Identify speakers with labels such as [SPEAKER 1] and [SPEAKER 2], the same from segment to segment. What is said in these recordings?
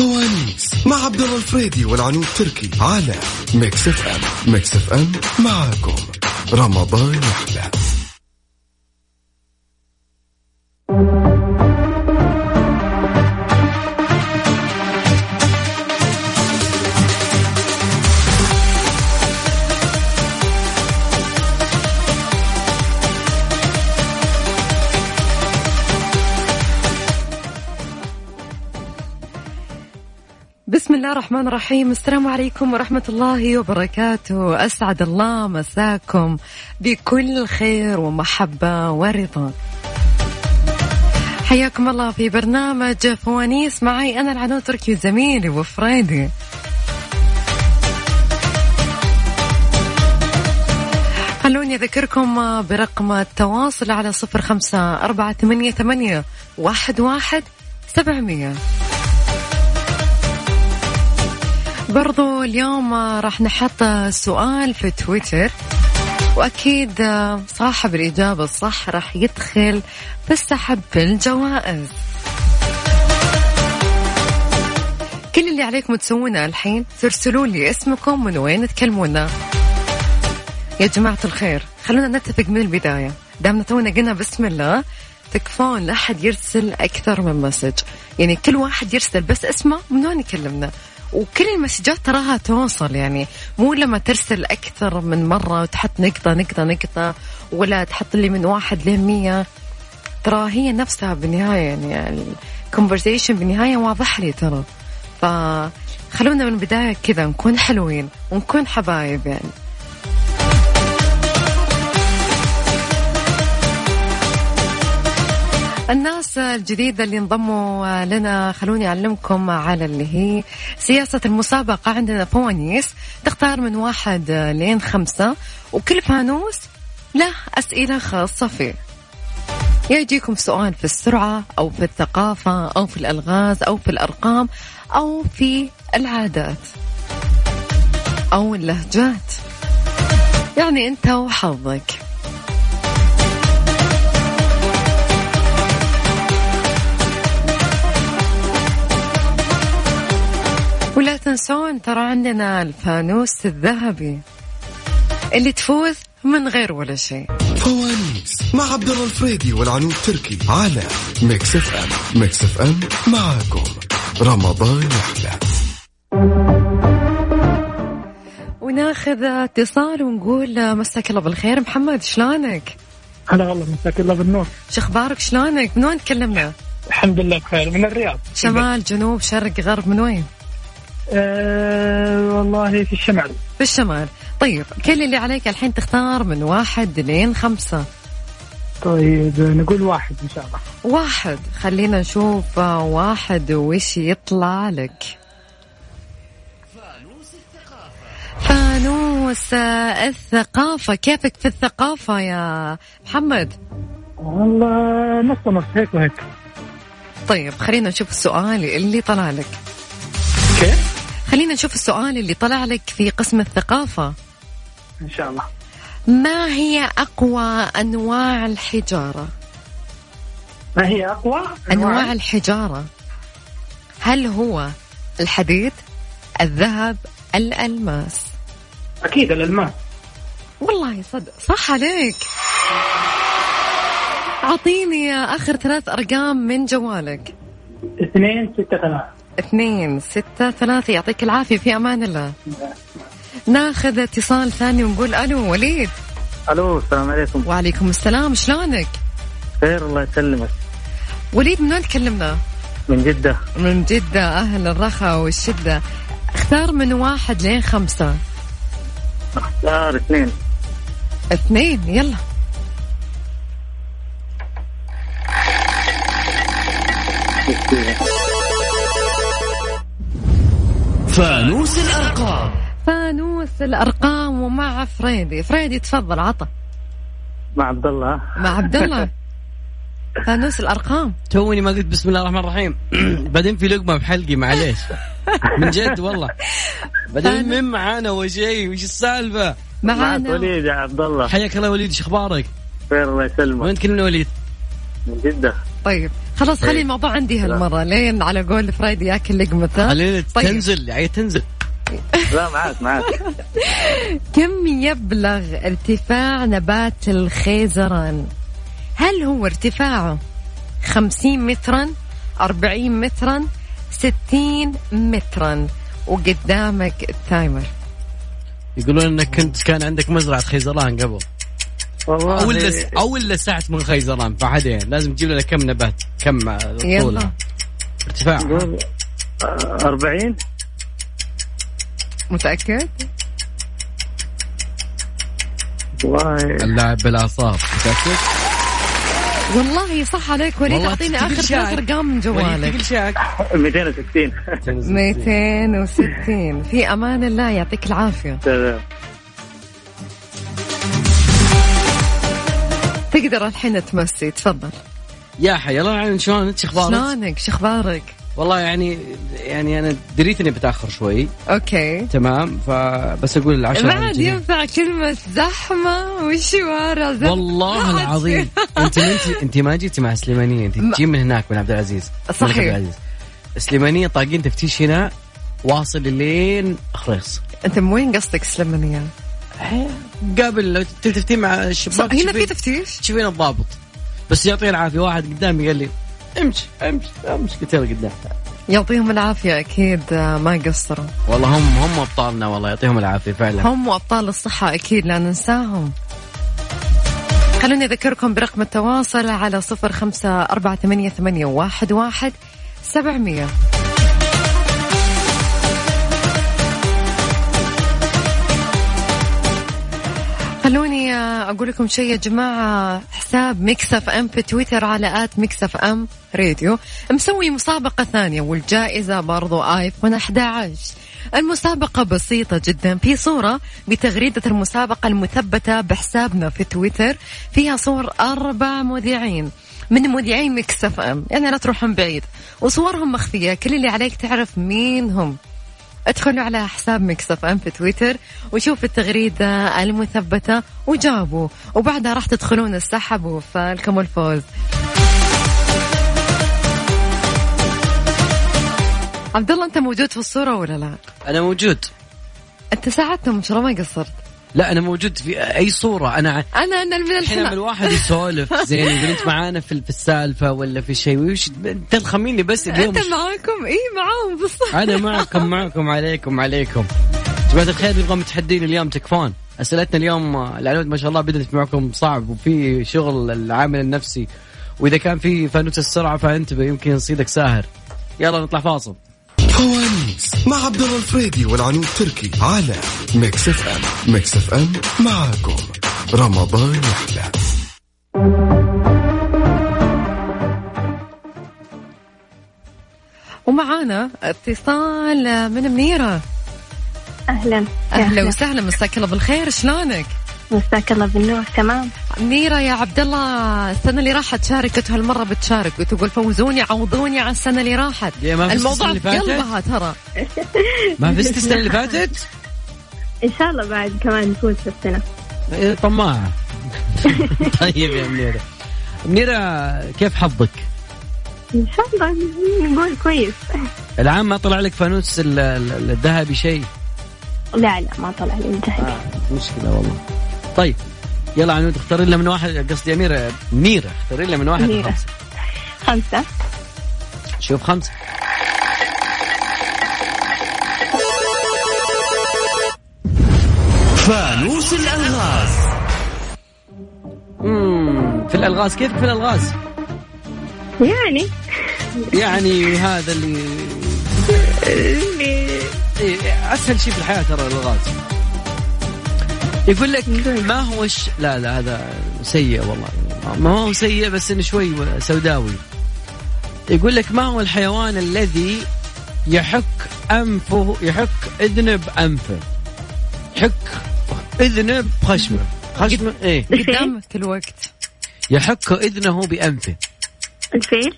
[SPEAKER 1] الخميس مع عبد الله الفريدي والعنود تركي على ميكس اف ام ميكس اف ام معاكم رمضان يحلى
[SPEAKER 2] بسم الله الرحمن الرحيم السلام عليكم ورحمة الله وبركاته أسعد الله مساكم بكل خير ومحبة ورضا حياكم الله في برنامج فوانيس معي أنا العنود تركي زميلي وفريدي خلوني أذكركم برقم التواصل على صفر خمسة أربعة ثمانية ثمانية واحد واحد سبعمية برضو اليوم راح نحط سؤال في تويتر وأكيد صاحب الإجابة الصح راح يدخل في السحب في الجوائز كل اللي عليكم تسوونه الحين ترسلوا لي اسمكم من وين تكلمونا يا جماعة الخير خلونا نتفق من البداية دامنا تونا قلنا بسم الله تكفون لا أحد يرسل أكثر من مسج يعني كل واحد يرسل بس اسمه من وين يكلمنا وكل المسجات تراها توصل يعني مو لما ترسل أكثر من مرة وتحط نقطة نقطة نقطة ولا تحط لي من واحد لمية ترى هي نفسها بالنهاية يعني الكونفرزيشن بالنهاية واضح لي ترى فخلونا من البداية كذا نكون حلوين ونكون حبايب يعني الناس الجديدة اللي انضموا لنا خلوني أعلمكم على اللي هي سياسة المسابقة عندنا فوانيس تختار من واحد لين خمسة وكل فانوس له أسئلة خاصة فيه يجيكم سؤال في السرعة أو في الثقافة أو في الألغاز أو في الأرقام أو في العادات أو اللهجات يعني أنت وحظك ولا تنسون ترى عندنا الفانوس الذهبي اللي تفوز من غير ولا شيء
[SPEAKER 1] فوانيس مع عبد الله الفريدي والعنود تركي على ميكس اف ام ميكس اف ام معاكم رمضان يحلى
[SPEAKER 2] وناخذ اتصال ونقول مساك الله بالخير محمد شلونك؟
[SPEAKER 3] هلا والله مساك الله بالنور
[SPEAKER 2] شو اخبارك شلونك؟ من وين تكلمنا؟
[SPEAKER 3] الحمد لله بخير من الرياض
[SPEAKER 2] شمال جنوب شرق غرب من وين؟
[SPEAKER 3] أه والله في الشمال
[SPEAKER 2] في الشمال طيب كل اللي عليك الحين تختار من واحد لين خمسة
[SPEAKER 3] طيب نقول واحد ان شاء الله
[SPEAKER 2] واحد خلينا نشوف آه، واحد وش يطلع لك فانوس الثقافة كيفك في الثقافة يا محمد
[SPEAKER 3] والله نص نص هيك وهيك
[SPEAKER 2] طيب خلينا نشوف السؤال اللي طلع لك
[SPEAKER 3] كيف؟
[SPEAKER 2] خلينا نشوف السؤال اللي طلع لك في قسم الثقافة
[SPEAKER 3] ان شاء الله
[SPEAKER 2] ما هي أقوى أنواع الحجارة؟
[SPEAKER 3] ما هي اقوى
[SPEAKER 2] أنواع الحجارة هل هو الحديد الذهب الألماس
[SPEAKER 3] اكيد الالماس
[SPEAKER 2] والله صدق صح عليك أعطيني آخر ثلاث أرقام من جوالك
[SPEAKER 3] اثنين ستة ثلاثة
[SPEAKER 2] اثنين ستة ثلاثة يعطيك العافية في أمان الله ناخذ اتصال ثاني ونقول ألو وليد
[SPEAKER 4] الو السلام عليكم
[SPEAKER 2] وعليكم السلام شلونك؟
[SPEAKER 4] خير الله يسلمك
[SPEAKER 2] وليد من وين تكلمنا؟
[SPEAKER 4] من جده
[SPEAKER 2] من جدة أهل الرخاء والشدة اختار من واحد لين خمسة
[SPEAKER 4] اختار اثنين
[SPEAKER 2] اثنين يلا
[SPEAKER 5] فانوس الأرقام
[SPEAKER 2] فانوس الأرقام ومع فريدي فريدي تفضل عطا
[SPEAKER 4] مع عبد الله ها؟
[SPEAKER 2] مع عبد الله فانوس الأرقام
[SPEAKER 5] توني ما قلت بسم الله الرحمن الرحيم بعدين في لقمة بحلقي معليش من جد والله بعدين من معانا وشي وش السالفة
[SPEAKER 4] معك
[SPEAKER 2] معانا
[SPEAKER 4] وليد يا عبد الله
[SPEAKER 5] حياك الله وليد شو اخبارك
[SPEAKER 4] خير الله يسلمك
[SPEAKER 5] وين تكلمنا وليد
[SPEAKER 4] من جدة
[SPEAKER 2] طيب خلاص
[SPEAKER 5] إيه.
[SPEAKER 2] خلي الموضوع عندي هالمرة لين على قول فرايدي ياكل لقمته
[SPEAKER 5] خلينا
[SPEAKER 2] طيب.
[SPEAKER 5] تنزل يعني تنزل
[SPEAKER 4] لا معاك معاك
[SPEAKER 2] كم يبلغ ارتفاع نبات الخيزران هل هو ارتفاعه 50 مترا 40 مترا 60 مترا وقدامك التايمر
[SPEAKER 5] يقولون انك كنت كان عندك مزرعه خيزران قبل
[SPEAKER 4] والله
[SPEAKER 5] او الا او الا ساعه من خيزران فحدين لازم تجيب لنا كم نبات كم
[SPEAKER 2] يلا
[SPEAKER 5] طولها ارتفاع
[SPEAKER 4] قول 40
[SPEAKER 2] متأكد
[SPEAKER 4] والله
[SPEAKER 5] اللاعب بالاعصاب متاكد
[SPEAKER 2] والله صح عليك وليد
[SPEAKER 5] والله
[SPEAKER 2] اعطيني
[SPEAKER 5] تقل
[SPEAKER 2] اخر
[SPEAKER 5] شاك.
[SPEAKER 2] ثلاث ارقام من
[SPEAKER 5] وليد
[SPEAKER 2] جوالك
[SPEAKER 5] تقل شاك
[SPEAKER 4] 260
[SPEAKER 2] 260 في امان الله يعطيك العافيه
[SPEAKER 4] تمام
[SPEAKER 2] تقدر الحين تمسي تفضل
[SPEAKER 5] يا حي الله يعين شلونك شو اخبارك؟
[SPEAKER 2] شلونك شخبارك
[SPEAKER 5] والله يعني يعني انا دريت اني بتاخر شوي
[SPEAKER 2] اوكي
[SPEAKER 5] تمام فبس اقول العشرة
[SPEAKER 2] بعد
[SPEAKER 5] الجاية.
[SPEAKER 2] ينفع كلمة زحمة وشوارع زحمة
[SPEAKER 5] والله العظيم انت ما انت انت ما جيتي مع سليمانيه انت
[SPEAKER 2] ما-
[SPEAKER 5] جيتي من هناك من عبد العزيز من
[SPEAKER 2] صحيح.
[SPEAKER 5] عبد العزيز سليمانيه طاقين تفتيش هنا واصل لين خريص
[SPEAKER 2] انت من وين قصدك سلمانية؟
[SPEAKER 5] قبل لو تلتفتين مع الشباك
[SPEAKER 2] هنا في
[SPEAKER 5] تشوفين-
[SPEAKER 2] تفتيش؟
[SPEAKER 5] تشوفين الضابط بس يعطيه العافيه واحد قدامي قال لي امشي امشي امشي قلت له قدام
[SPEAKER 2] يعطيهم العافية أكيد آه، ما قصروا
[SPEAKER 5] والله هم هم ابطالنا والله يعطيهم العافيه فعلا
[SPEAKER 2] هم وأبطال الصحة أكيد لا ننساهم خلوني أذكركم برقم التواصل على صفر خمسة أربعة ثمانية ثمانية واحد واحد سبعمية خلوني أقول لكم شيء يا جماعة حساب مكسف أم في تويتر على آت مكسف أم راديو مسوي مسابقة ثانية والجائزة برضو آيفون 11 المسابقة بسيطة جدا في صورة بتغريدة المسابقة المثبتة بحسابنا في تويتر فيها صور أربع مذيعين من مذيعي مكسف أم يعني لا تروحون بعيد وصورهم مخفية كل اللي عليك تعرف مين هم ادخلوا على حساب مكسف ام في تويتر وشوفوا التغريدة المثبتة وجاوبوا وبعدها راح تدخلون السحب وفالكم الفوز عبد الله انت موجود في الصورة ولا لا؟
[SPEAKER 5] انا موجود
[SPEAKER 2] انت ساعدتهم ان شاء الله ما قصرت.
[SPEAKER 5] لا انا موجود في اي صوره انا
[SPEAKER 2] انا انا من
[SPEAKER 5] الحين
[SPEAKER 2] الحين
[SPEAKER 5] لما الواحد يسولف زين يقول انت معانا في في السالفه ولا في شيء ويش انت تخميني بس اليوم
[SPEAKER 2] انت معاكم اي معاهم في الصورة.
[SPEAKER 5] انا معكم معكم عليكم عليكم جماعه الخير نبغى متحدين اليوم تكفون اسئلتنا اليوم آه، العنود ما شاء الله بدات معكم صعب وفي شغل العامل النفسي واذا كان في فانوس السرعه فانتبه يمكن يصيدك ساهر يلا نطلع فاصل
[SPEAKER 1] فوانيس مع عبد الله الفريدي والعنود تركي على ميكس اف ام ميكس اف ام معاكم رمضان يحلى
[SPEAKER 2] ومعانا اتصال من منيرة
[SPEAKER 6] اهلا
[SPEAKER 2] اهلا وسهلا مساك الله بالخير شلونك؟
[SPEAKER 6] مساك الله بالنور تمام
[SPEAKER 2] منيرة يا عبد الله السنة اللي راحت شاركت هالمرة بتشارك وتقول فوزوني عوضوني على السنة اللي راحت
[SPEAKER 5] ليه ما فزت
[SPEAKER 2] الموضوع
[SPEAKER 5] السنة
[SPEAKER 2] في
[SPEAKER 5] اللي فاتت؟
[SPEAKER 2] قلبها ترى
[SPEAKER 5] ما فزت السنه اللي فاتت
[SPEAKER 6] ان شاء الله بعد كمان نفوز في السنه
[SPEAKER 5] إيه، طماعه طيب يا منيره منيره كيف حظك؟
[SPEAKER 6] ان شاء الله نقول كويس
[SPEAKER 5] العام ما طلع لك فانوس ال- ال- الذهبي شيء
[SPEAKER 6] لا لا ما طلع لي الذهبي
[SPEAKER 5] مشكله والله طيب يلا عنود اختاري لنا من واحد قصدي اميره منيره اختاري لنا من واحد
[SPEAKER 6] منيرة.
[SPEAKER 5] لخمسه
[SPEAKER 6] خمسه
[SPEAKER 5] شوف خمسه
[SPEAKER 7] فانوس الالغاز
[SPEAKER 5] امم في الالغاز كيف في الالغاز؟
[SPEAKER 6] يعني
[SPEAKER 5] يعني هذا اللي
[SPEAKER 6] اللي
[SPEAKER 5] إيه، اسهل شيء في الحياه ترى الالغاز يقول لك ما هو الش... لا لا هذا سيء والله ما هو سيء بس انه شوي سوداوي يقول لك ما هو الحيوان الذي يحك انفه يحك اذنه بانفه يحك اذنه بخشمه خشمه ايه
[SPEAKER 2] قدامك الوقت
[SPEAKER 5] يحك اذنه بانفه
[SPEAKER 6] الفيل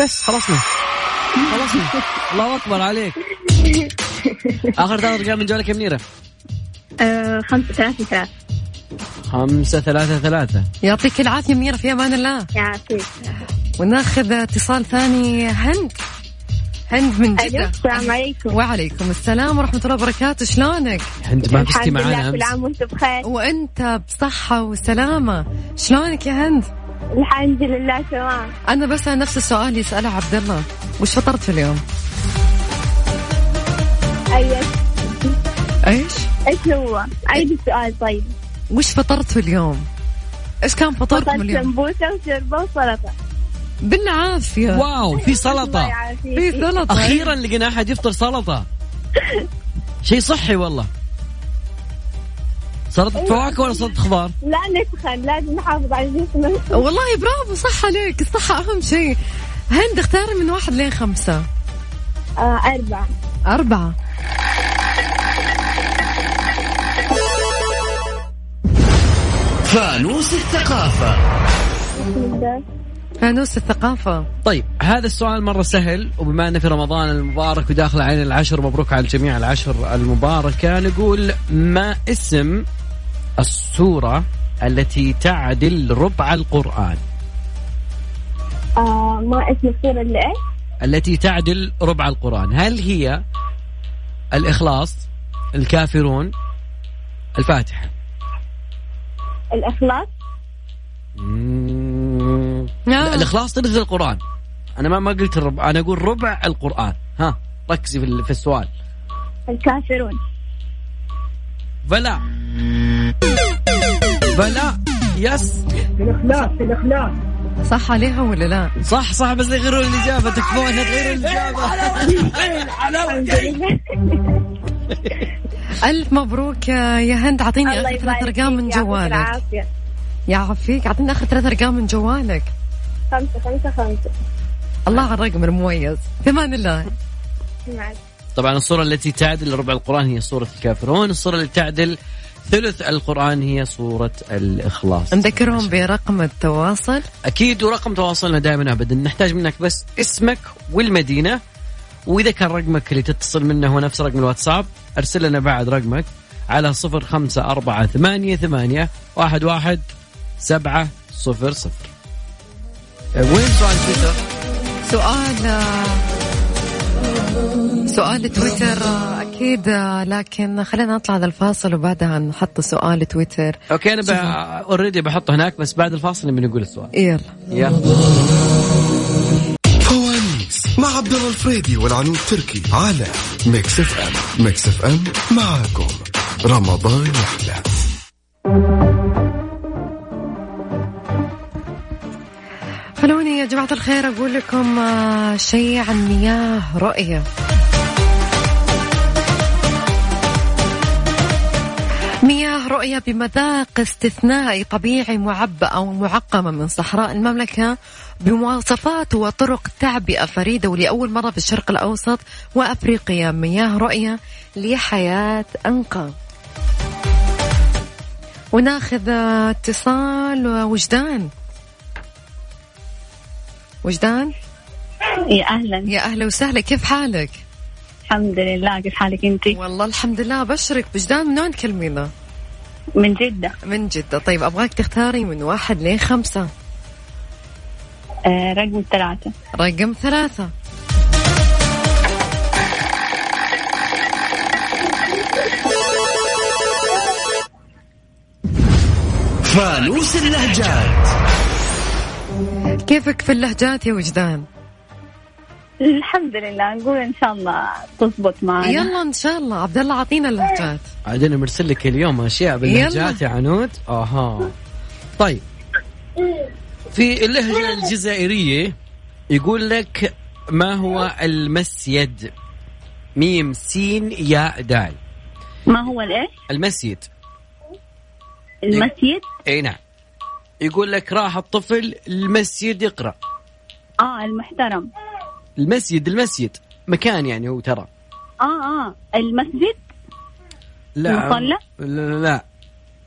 [SPEAKER 5] بس خلصنا خلصنا الله اكبر عليك اخر ثلاث ارقام من جولك يا منيره
[SPEAKER 6] آه خمسه ثلاثه ثلاثه
[SPEAKER 5] خمسة ثلاثة ثلاثة
[SPEAKER 2] يعطيك العافية منيرة في أمان الله
[SPEAKER 6] يعطيك
[SPEAKER 2] وناخذ اتصال ثاني هند هند من
[SPEAKER 6] ألو
[SPEAKER 2] جدة
[SPEAKER 6] السلام عليكم
[SPEAKER 2] وعليكم السلام ورحمة الله وبركاته شلونك؟
[SPEAKER 5] انت ما بستي
[SPEAKER 6] الحمد
[SPEAKER 5] معانا
[SPEAKER 6] لله
[SPEAKER 5] امس
[SPEAKER 6] كل عام وانت بخير
[SPEAKER 2] وانت بصحة وسلامة شلونك يا هند؟
[SPEAKER 6] الحمد لله تمام
[SPEAKER 2] انا بس نفس السؤال اللي يسأله عبد الله وش فطرت في اليوم؟
[SPEAKER 6] اي
[SPEAKER 2] ايش؟
[SPEAKER 6] ايش أيوة. هو؟ عيد السؤال طيب
[SPEAKER 2] وش فطرت في اليوم؟ ايش كان فطوركم
[SPEAKER 6] فطرت
[SPEAKER 2] اليوم؟
[SPEAKER 6] سمبوسه وشربه وسلطه
[SPEAKER 2] بالعافية
[SPEAKER 5] واو
[SPEAKER 6] طيب.
[SPEAKER 5] في
[SPEAKER 6] الله
[SPEAKER 5] سلطة
[SPEAKER 6] يعافيك.
[SPEAKER 2] في سلطة
[SPEAKER 5] أخيرا لقينا أحد يفطر سلطة شيء صحي والله سلطة فواكه ولا سلطة خضار؟
[SPEAKER 6] لا نسخن لازم نحافظ على جسمنا
[SPEAKER 2] والله برافو صح عليك الصحة أهم شيء هند اختاري من واحد لين خمسة
[SPEAKER 6] آه أربعة
[SPEAKER 2] أربعة
[SPEAKER 7] فانوس الثقافة
[SPEAKER 2] فانوس الثقافة
[SPEAKER 5] طيب هذا السؤال مرة سهل وبما أنه في رمضان المبارك وداخل علينا العشر مبروك على الجميع العشر المباركة نقول ما اسم السورة التي تعدل ربع القرآن
[SPEAKER 6] آه ما اسم السورة اللي إيه؟
[SPEAKER 5] التي تعدل ربع القرآن هل هي الإخلاص الكافرون الفاتحة
[SPEAKER 6] الإخلاص
[SPEAKER 2] آه.
[SPEAKER 5] مم. لا الإخلاص ثلث القرآن أنا ما ما قلت الربع أنا أقول ربع القرآن ها ركزي في ال- في السؤال
[SPEAKER 6] الكافرون
[SPEAKER 5] بلا بلا يس
[SPEAKER 3] الإخلاص الإخلاص
[SPEAKER 2] صح عليها ولا لا؟
[SPEAKER 5] صح صح بس يغيرون الإجابة تكفون تغيرون الإجابة
[SPEAKER 2] ألف مبروك يا يا هند أعطيني
[SPEAKER 6] الله
[SPEAKER 2] آخر ثلاث
[SPEAKER 6] يبارك
[SPEAKER 2] أرقام من
[SPEAKER 6] فيك، يعطيك
[SPEAKER 2] جوالك
[SPEAKER 6] العافية.
[SPEAKER 2] يعافيك أعطيني آخر ثلاث أرقام من جوالك
[SPEAKER 6] خمسة خمسة خمسة
[SPEAKER 2] الله على الرقم المميز ثمان الله
[SPEAKER 6] مع السلامة.
[SPEAKER 5] طبعا الصورة التي تعدل ربع القرآن هي صورة الكافرون الصورة اللي تعدل ثلث القرآن هي صورة الإخلاص
[SPEAKER 2] نذكرهم برقم التواصل
[SPEAKER 5] أكيد ورقم تواصلنا دائما أبدا نحتاج منك بس اسمك والمدينة وإذا كان رقمك اللي تتصل منه هو نفس رقم الواتساب أرسل لنا بعد رقمك على صفر خمسة أربعة ثمانية ثمانية واحد واحد سبعة صفر صفر وين سؤال تويتر؟
[SPEAKER 2] سؤال آه، سؤال تويتر آه، أكيد آه، لكن خلينا نطلع هذا الفاصل وبعدها نحط سؤال تويتر
[SPEAKER 5] أوكي أنا أوريدي بحطه هناك بس بعد الفاصل نبي نقول السؤال
[SPEAKER 2] يلا
[SPEAKER 5] يلا
[SPEAKER 1] فوانيس مع عبد الله الفريدي والعنود تركي على ميكس اف ام ميكس اف ام معاكم رمضان يحلى
[SPEAKER 2] خلوني يا جماعة الخير أقول لكم آه، شيء عن مياه رؤية مياه رؤية بمذاق استثنائي طبيعي معبأة ومعقمة من صحراء المملكة بمواصفات وطرق تعبئة فريدة ولأول مرة في الشرق الأوسط وأفريقيا مياه رؤية لحياة أنقى وناخذ آه، اتصال آه، وجدان وجدان
[SPEAKER 6] يا أهلا
[SPEAKER 2] يا اهلا وسهلا كيف حالك؟
[SPEAKER 6] الحمد لله كيف حالك أنت؟
[SPEAKER 2] والله الحمد لله بشرك بجدان من وين تكلمينا؟
[SPEAKER 6] من جدة
[SPEAKER 2] من جدة طيب ابغاك تختاري من واحد لين خمسة
[SPEAKER 6] آه رقم ثلاثة
[SPEAKER 2] رقم ثلاثة
[SPEAKER 7] فانوس اللهجات
[SPEAKER 2] كيفك في اللهجات يا وجدان؟
[SPEAKER 6] الحمد لله نقول إن شاء الله تزبط معنا
[SPEAKER 2] يلا ان شاء الله عبد الله اعطينا اللهجات
[SPEAKER 5] عادنا مرسل لك اليوم أشياء باللهجات يا عنود أها طيب في اللهجة الجزائرية يقول لك ما هو المسيد ميم سين ياء دال
[SPEAKER 6] ما هو الإيش؟
[SPEAKER 5] المسيد
[SPEAKER 6] المسجد؟
[SPEAKER 5] اي نعم يقول لك راح الطفل المسجد يقرا
[SPEAKER 6] آه المحترم
[SPEAKER 5] المسجد المسجد مكان يعني هو ترى
[SPEAKER 6] آه آه المسجد؟ آه،
[SPEAKER 5] لا
[SPEAKER 6] المصلى؟
[SPEAKER 5] لا, لا.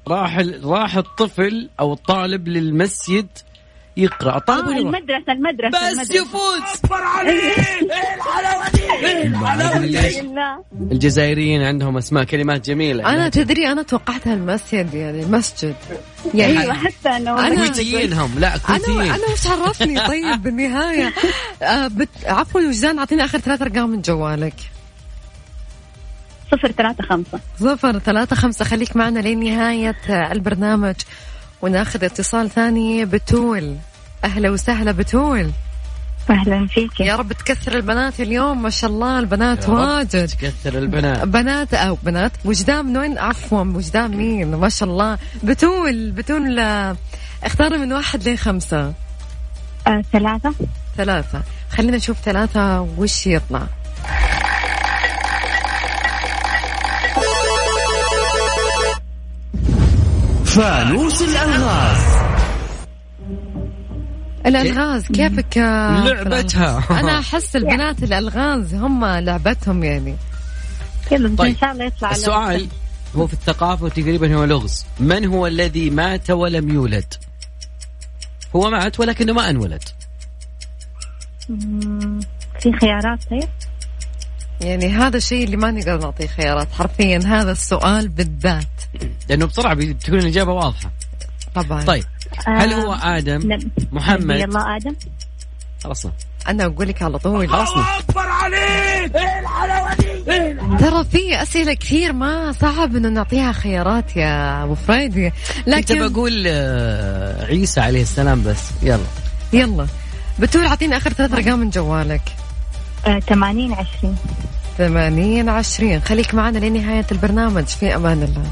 [SPEAKER 5] راح ال- راح الطفل او الطالب طيب، للمسجد يقرا
[SPEAKER 6] آه
[SPEAKER 5] الطالب وين يروح؟
[SPEAKER 6] المدرسة المدرسة
[SPEAKER 5] بس
[SPEAKER 6] المدرسة.
[SPEAKER 5] يفوز أدري ليش
[SPEAKER 6] لله
[SPEAKER 5] الجزائريين عندهم أسماء كلمات جميلة
[SPEAKER 2] انا تدري انا توقعتها المسجد يعني المسجد يعني
[SPEAKER 6] ايوه حتى انا
[SPEAKER 2] أنا-
[SPEAKER 5] كويتيين هم لا
[SPEAKER 2] انا
[SPEAKER 5] كويتيين
[SPEAKER 2] انا وش عرفني طيب بالنهايه آه بت... عفوا وجدان اعطيني اخر ثلاث ارقام من جوالك
[SPEAKER 6] صفر ثلاثة خمسة
[SPEAKER 2] صفر ثلاثة خمسة خليك معنا لنهاية آه، البرنامج وناخذ اتصال ثاني بتول اهلا وسهلا بتول
[SPEAKER 6] أهلا فيك
[SPEAKER 2] يا رب تكثر البنات اليوم ما شاء الله البنات
[SPEAKER 5] يا رب.
[SPEAKER 2] واجد
[SPEAKER 5] كثر البنات
[SPEAKER 2] بنات او بنات وجدان من وين عفوا وجدان مين ما شاء الله بتول بتول آه، اختاري من واحد لخمسة
[SPEAKER 6] آه، ثلاثة
[SPEAKER 2] ثلاثة خلينا نشوف ثلاثة وش يطلع
[SPEAKER 7] فانوس الألغاز
[SPEAKER 2] الالغاز كيفك يا
[SPEAKER 5] لعبتها.
[SPEAKER 2] فرنسا؟ انا احس البنات الالغاز هم لعبتهم يعني
[SPEAKER 6] يلا
[SPEAKER 5] طيب.
[SPEAKER 6] إن شاء الله يطلع لنا
[SPEAKER 5] السؤال هو في الثقافة وتقريبا هو لغز من هو الذي مات ولم يولد هو مات ولكنه ما انولد
[SPEAKER 6] مم، في خيارات طيب
[SPEAKER 2] يعني هذا الشيء اللي ما نقدر نعطيه خيارات حرفيا هذا السؤال بالذات
[SPEAKER 5] لأنه بسرعة بي- بتكون الإجابة واضحة
[SPEAKER 2] طبعا
[SPEAKER 5] طيب هل هو
[SPEAKER 6] آه،
[SPEAKER 5] آدم
[SPEAKER 6] نعم. نبي
[SPEAKER 5] محمد
[SPEAKER 6] الله آدم
[SPEAKER 5] خلصنا
[SPEAKER 2] انا اقول لك على طول
[SPEAKER 5] خلصنا
[SPEAKER 2] ترى في اسئله كثير ما صعب انه نعطيها خيارات يا ابو فريدي
[SPEAKER 5] كنت
[SPEAKER 2] لكن
[SPEAKER 5] بقول آه، عيسى عليه السلام بس يلا
[SPEAKER 2] يلا بتقول اعطيني اخر ثلاث
[SPEAKER 5] طيب.
[SPEAKER 2] ارقام من جوالك
[SPEAKER 6] آه، 80 20
[SPEAKER 2] ثمانين عشرين خليك معنا لنهاية البرنامج في أمان الله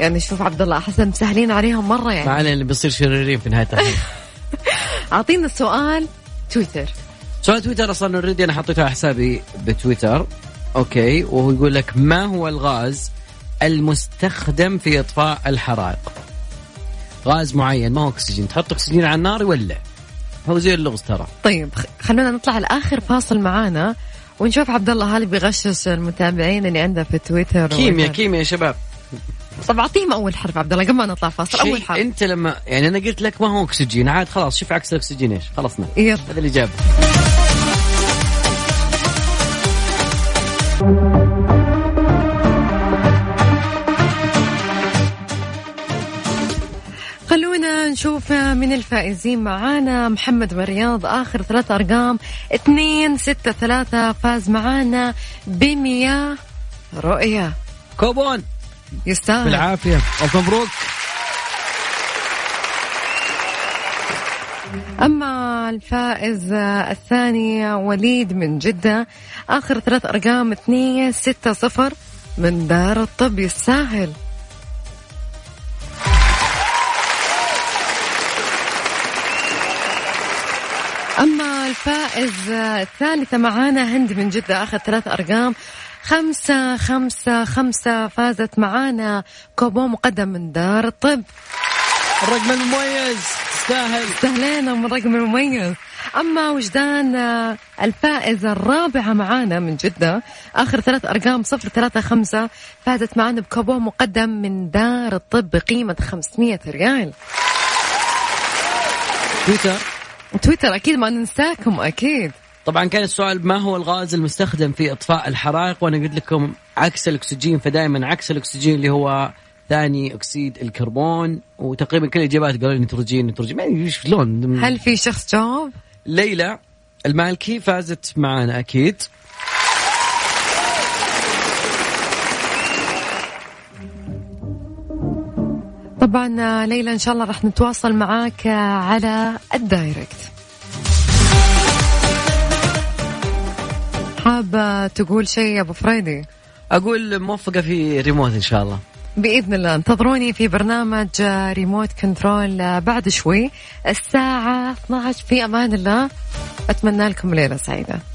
[SPEAKER 2] يعني شوف عبد الله حسن مسهلين عليهم مرة
[SPEAKER 5] ما
[SPEAKER 2] يعني
[SPEAKER 5] علينا اللي بيصير شريرين في نهاية الحلقة
[SPEAKER 2] أعطينا السؤال تويتر
[SPEAKER 5] سؤال تويتر اصلا اوريدي انا حطيته على حسابي بتويتر اوكي وهو يقول لك ما هو الغاز المستخدم في اطفاء الحرائق؟ غاز معين ما هو اكسجين تحط اكسجين على النار يولع هو زي اللغز ترى
[SPEAKER 2] طيب خ- خلونا نطلع لآخر فاصل معانا ونشوف عبد الله هل بيغشش المتابعين اللي عنده في تويتر ولا-
[SPEAKER 5] كيمياء كيمياء يا شباب
[SPEAKER 2] طب أعطيهم أول حرف عبد الله قبل ما نطلع فاصل
[SPEAKER 5] شيء
[SPEAKER 2] أول حرف
[SPEAKER 5] انت لما يعني انا قلت لك ما هو اكسجين عاد خلاص شوف عكس الاكسجين ايش خلصنا
[SPEAKER 2] يلا
[SPEAKER 5] نعم. هذا الاجابه
[SPEAKER 2] خلونا نشوف من الفائزين معانا محمد من الرياض آخر ثلاث أرقام اثنين ستة ثلاثة فاز معانا بمياه رؤية
[SPEAKER 5] كوبون
[SPEAKER 2] يستاهل
[SPEAKER 5] بالعافيه الف مبروك
[SPEAKER 2] أما الفائز الثاني وليد من جدة آخر ثلاث أرقام اثنين ستة صفر من دار الطب يستاهل أما الفائز الثالثة معانا هند من جدة آخر ثلاث أرقام خمسة خمسة خمسة فازت معانا كوبون مقدم من دار الطب
[SPEAKER 5] الرقم المميز تستاهل
[SPEAKER 2] استهلينا من رقم المميز أما وجدان آه، الفائزة الرابعة معانا من جدة آخر ثلاث أرقام صفر ثلاثة خمسة فازت معانا بكوبون مقدم من دار الطب بقيمة 500 ريال
[SPEAKER 5] تويتر
[SPEAKER 2] تويتر أكيد ما ننساكم أكيد
[SPEAKER 5] طبعا كان السؤال ما هو الغاز المستخدم في اطفاء الحرائق وانا قلت لكم عكس الاكسجين فدائما عكس الاكسجين اللي هو ثاني اكسيد الكربون وتقريبا كل الاجابات قالوا لي نيتروجين نيتروجين ما ادري ايش لون
[SPEAKER 2] هل في شخص جاوب؟
[SPEAKER 5] ليلى المالكي فازت معنا اكيد
[SPEAKER 2] طبعا آه، ليلى إن شاء الله راح نتواصل معاك آه، على الدايركت حابة تقول شيء يا أبو فريدي
[SPEAKER 5] اقول موفقه في ريموت ان شاء الله
[SPEAKER 2] بإذن الله انتظروني في برنامج آه، ريموت كنترول آه، بعد شوي الساعة 12 في أمان الله أتمنى لكم ليلة سعيدة